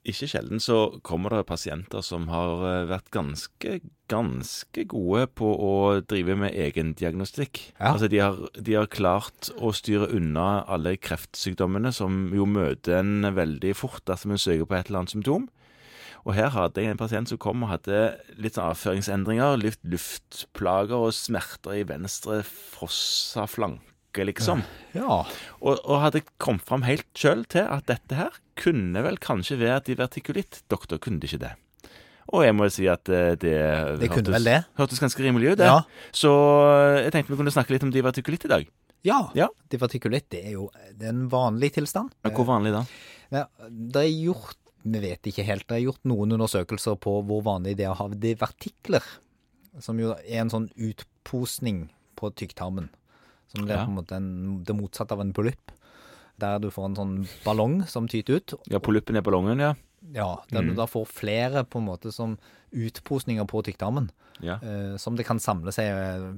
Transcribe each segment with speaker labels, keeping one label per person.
Speaker 1: ikke sjelden så kommer det pasienter som har eh, vært ganske, ganske gode på å drive med egendiagnostikk.
Speaker 2: Ja.
Speaker 1: Altså de har, de har klart å styre unna alle kreftsykdommene som jo møter en veldig fort dersom en søker på et eller annet symptom. Og her hadde jeg en pasient som kom og hadde litt sånn avføringsendringer, luft, luftplager og smerter i venstre frossa flanke, liksom.
Speaker 2: Ja.
Speaker 1: Og, og hadde kommet fram helt sjøl til at dette her kunne vel kanskje være divertikulitt. Doktor kunne ikke det. Og jeg må jo si at eh, det,
Speaker 2: Det kunne vel det.
Speaker 1: hørtes ganske rimelig ut, det.
Speaker 2: Ja.
Speaker 1: Så eh, jeg tenkte vi kunne snakke litt om divertikulitt i dag.
Speaker 2: ja.
Speaker 1: Ja.
Speaker 2: Divertikulitt det er jo det er en vanlig tilstand.
Speaker 1: Men Hvor vanlig da?
Speaker 2: Ja, det er gjort Vi vet ikke helt. Det er gjort noen undersøkelser på hvor vanlig det er å ha divertikler, som jo er en sånn utposning på tykktarmen. Som det er
Speaker 1: Ja.
Speaker 2: på en måte en, det motsatte av en polypp. Der du får en sånn ballong som tyter ut.
Speaker 1: Ja, Polyppen er ballongen, ja.
Speaker 2: Ja, Der
Speaker 1: Mm.
Speaker 2: du da får flere på en måte som utposninger på tykktarmen.
Speaker 1: ja.
Speaker 2: Eh, som det kan samle seg eh,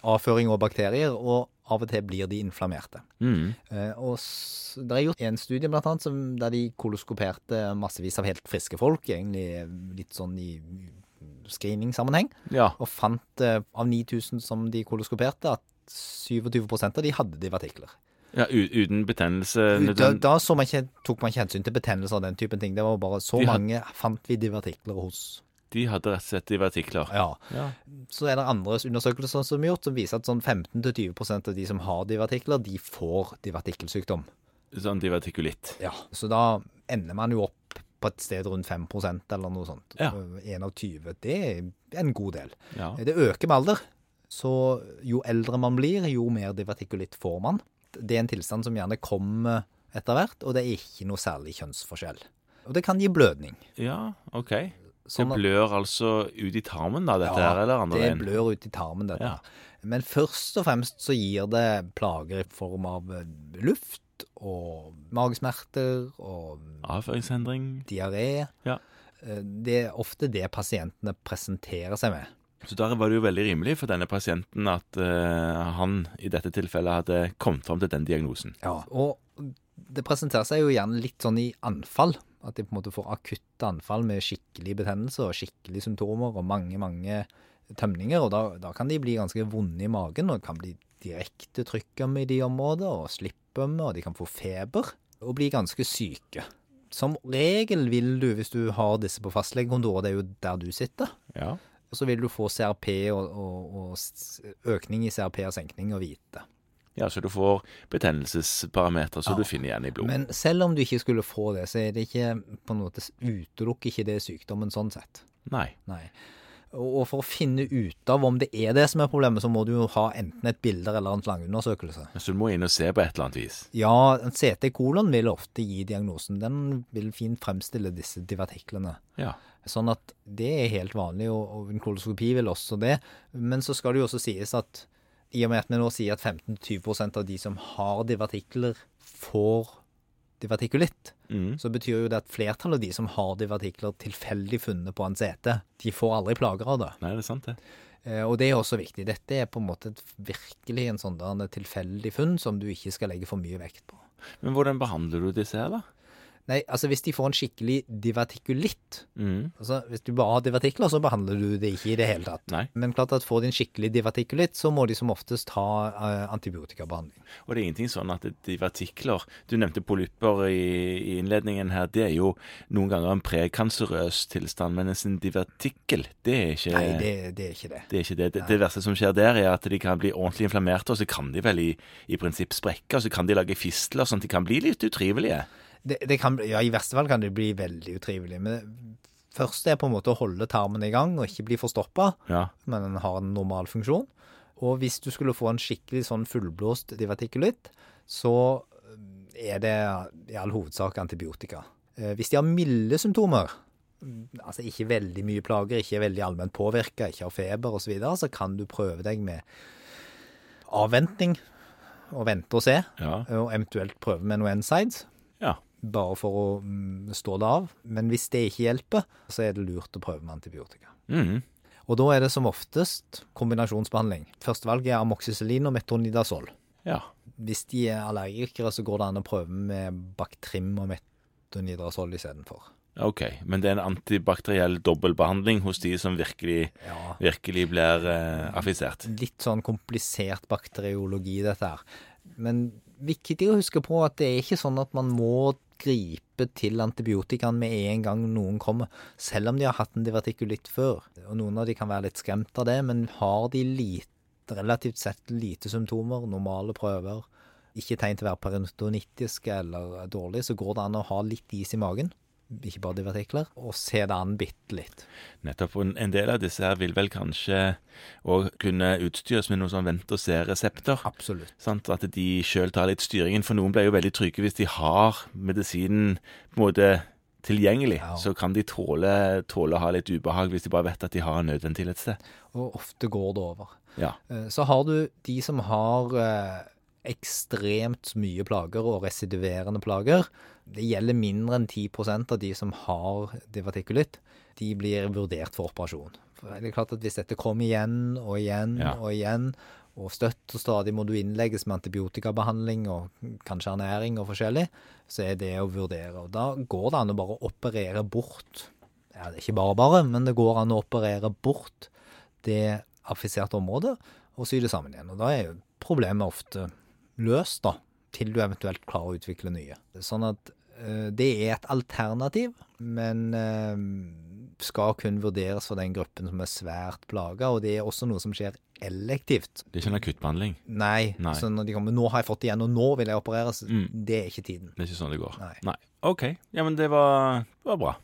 Speaker 2: avføring og bakterier, og av og til blir de inflammerte.
Speaker 1: Mm.
Speaker 2: Eh, og s- Det er gjort en studie blant annet, som, der de koloskoperte massevis av helt friske folk, egentlig litt sånn i screeningsammenheng,
Speaker 1: ja.
Speaker 2: og fant eh, av 9000 som de koloskoperte, at 27 av de hadde divertikler.
Speaker 1: ja u uten betennelse sånn-
Speaker 2: Da,
Speaker 1: nødvendig.
Speaker 2: da så man ikke, tok man ikke hensyn til betennelser og den typen ting. Det var bare så
Speaker 1: De had-
Speaker 2: mange fant vi divertikler hos.
Speaker 1: De hadde rett og slett divertikler.
Speaker 2: Ja.
Speaker 1: Ja.
Speaker 2: Så er det andre undersøkelser som er gjort, som viser at sånn 15-20 av de som har divertikler, de får divertikkelsykdom.
Speaker 1: Sånn divertikulitt.
Speaker 2: Ja, så da ender man jo opp på et sted rundt 5 eller noe sånt.
Speaker 1: Ja.
Speaker 2: Eh, En av 20, det er en god del.
Speaker 1: Ja.
Speaker 2: Det øker med alder, så jo eldre man blir, jo mer divertikulitt får man. Det er en tilstand som gjerne kommer etter hvert, og det er ikke noe særlig kjønnsforskjell. Og det kan gi blødning.
Speaker 1: ja, OK. Så
Speaker 2: Sånn at-
Speaker 1: blør altså ut i tarmen, da, dette her, eller andre
Speaker 2: det
Speaker 1: veien?
Speaker 2: blør ut i tarmen, dette.
Speaker 1: Ja.
Speaker 2: Men først og fremst så gir det plager i form av eh, luft og magesmerter og
Speaker 1: Avføringsendring.
Speaker 2: diaré.
Speaker 1: Ja.
Speaker 2: Eh, Det er ofte det pasientene presenterer seg med.
Speaker 1: Så der var det jo veldig rimelig for denne pasienten at eh, han i dette tilfellet hadde kommet fram til den diagnosen.
Speaker 2: Og det presenterer seg jo gjerne litt sånn i anfall. At de på en måte får akutte anfall med skikkelig betennelse og skikkelige symptomer og mange, mange tømninger. Og da, da kan de bli ganske vonde i magen og kan bli direkte trykkømme i de områder og slippømme, og de kan få feber og bli ganske syke. Som regel vil du, hvis du har disse på fastlegekontoret, det er jo der du sitter,
Speaker 1: Ja.
Speaker 2: Og så vil du få CRP og, og, og s- økning i CRP og senkning og hvite.
Speaker 1: ja, så du får betennelsesparameter som
Speaker 2: Ja.
Speaker 1: du finner igjen i blodet.
Speaker 2: Men selv om du ikke skulle få det, så er det ikke på en måte utelukker ikke det sykdommen sånn sett.
Speaker 1: Nei.
Speaker 2: Nei. Og og for å finne ut av om det er det som er problemet, så må du jo ha enten et bilder eller en slangeundersøkelse.
Speaker 1: Så du må inn og se på et eller annet vis.
Speaker 2: Ja, en CT-kolon vil ofte gi diagnosen. Den vil fint fremstille disse divertiklene.
Speaker 1: Ja.
Speaker 2: Sånn at det er helt vanlig, og, og en koloskopi vil også det. Men så skal det jo også sies at i og med at vi nå sier at 15-20 av de som har divertikler, får divertikulitt,
Speaker 1: Mm.
Speaker 2: så betyr jo det at flertallet av de som har divertikler tilfeldig funnet på en sete, de får aldri plager av det.
Speaker 1: Nei, det er sant, det.
Speaker 2: Eh, Og det er også viktig. Dette er på en måte et- virkelig en sånn der en tilfeldig funn som du ikke skal legge for mye vekt på.
Speaker 1: Men hvordan behandler du disse her, da?
Speaker 2: Nei, altså hvis de får en skikkelig divertikulitt,
Speaker 1: Mm.
Speaker 2: altså hvis du bare har divertikler, så behandler du det ikke i det hele tatt.
Speaker 1: Nei.
Speaker 2: Men klart at får de en skikkelig divertikulitt, så må de som oftest ha eh, antibiotikabehandling.
Speaker 1: Og det er ingenting sånn at divertikler Du nevnte polypper i, i innledningen her. Det er jo noen ganger en prekancerøs tilstand, men en divertikkel, det er ikke
Speaker 2: Nei, det, det er ikke det.
Speaker 1: Det er ikke det. Det, det verste som skjer der, er at de kan bli ordentlig inflammerte, og så kan de vel i, i prinsipp sprekke, og så kan de lage fistler, sånn at de kan bli litt utrivelige.
Speaker 2: det, det kan, bli- ja, I verste fall kan det bli veldig utrivelig. Men det første er på en måte å holde tarmen i gang og ikke bli forstoppa,
Speaker 1: Ja.
Speaker 2: men den har en normal funksjon. Og hvis du skulle få en skikkelig sånn fullblåst divertikulitt, så eh, er det i all hovedsak antibiotika. Eh, Hvis de har milde symptomer, mm, altså ikke veldig mye plager, ikke er veldig allment påvirka, ikke har feber osv., så, videre, så kan du prøve deg med avventning og vente og se,
Speaker 1: Ja.
Speaker 2: og eventuelt prøve med noe NSIDES,
Speaker 1: ja.
Speaker 2: bare for å mm, stå det av. Men hvis det ikke hjelper, så er det lurt å prøve med antibiotika.
Speaker 1: Mhm.
Speaker 2: Og da er det som oftest kombinasjonsbehandling. Førstevalget er amoxicillin og metronidazol.
Speaker 1: ja.
Speaker 2: Hvis de er allergikere, så går det an å prøve med Bactrim og metronidazol istedenfor.
Speaker 1: OK. Men det er en antibakteriell dobbeltbehandling hos de som virkelig,
Speaker 2: Ja,
Speaker 1: virkelig blir eh, affisert.
Speaker 2: litt sånn komplisert bakteriologi, dette her. Men viktig å huske på at det er ikke sånn at man må gripe til antibiotikaen med en gang noen kommer, selv om de har hatt en divertikulitt før. Og noen av de kan være litt skremt av det, men har de lite, relativt sett lite symptomer, normale prøver, ikke tegn til å være periodonittiske eller dårlige, så går det an å ha litt is i magen, ikke bare divertikler, og se det an bitte litt.
Speaker 1: Nettopp. Og en del av disse her vil vel kanskje òg kunne utstyres med noen sånn vent-og-se-resepter.
Speaker 2: Absolutt.
Speaker 1: Sant? At de sjøl tar litt styringen. For noen blir jo veldig trygge hvis de har medisinen på en måte tilgjengelig.
Speaker 2: Ja.
Speaker 1: Så kan de tåle, tåle å ha litt ubehag hvis de bare vet at de har en nødventil et sted.
Speaker 2: og ofte går det over.
Speaker 1: Ja.
Speaker 2: Eh, Så har du de som har eh, ekstremt mye plager og residuverende plager. Det gjelder mindre enn 10 av de som har divertikulitt. De blir vurdert for operasjon. For det er klart at Hvis dette kommer igjen og igjen
Speaker 1: Ja.
Speaker 2: og igjen, og støtt og stadig må du innlegges med antibiotikabehandling og kanskje ernæring og forskjellig, så er det å vurdere. Og Da går det an å bare operere bort ja, det er ikke bare bare, men det går an å operere bort det affiserte området og sy det sammen igjen. Og da er jo problemet ofte løst, da, til du eventuelt klarer å utvikle nye. Sånn at eh, det er et alternativ, men eh, skal kun vurderes for den gruppen som er svært plaga, og det er også noe som skjer elektivt.
Speaker 1: Det er ikke en akuttbehandling.
Speaker 2: Nei,
Speaker 1: Nei.
Speaker 2: så når de kommer 'nå har jeg fått det igjen, og nå vil jeg opereres',
Speaker 1: Mm.
Speaker 2: det er ikke tiden.
Speaker 1: Det er ikke sånn det går.
Speaker 2: Nei.
Speaker 1: OK. Ja, men det var, det var bra.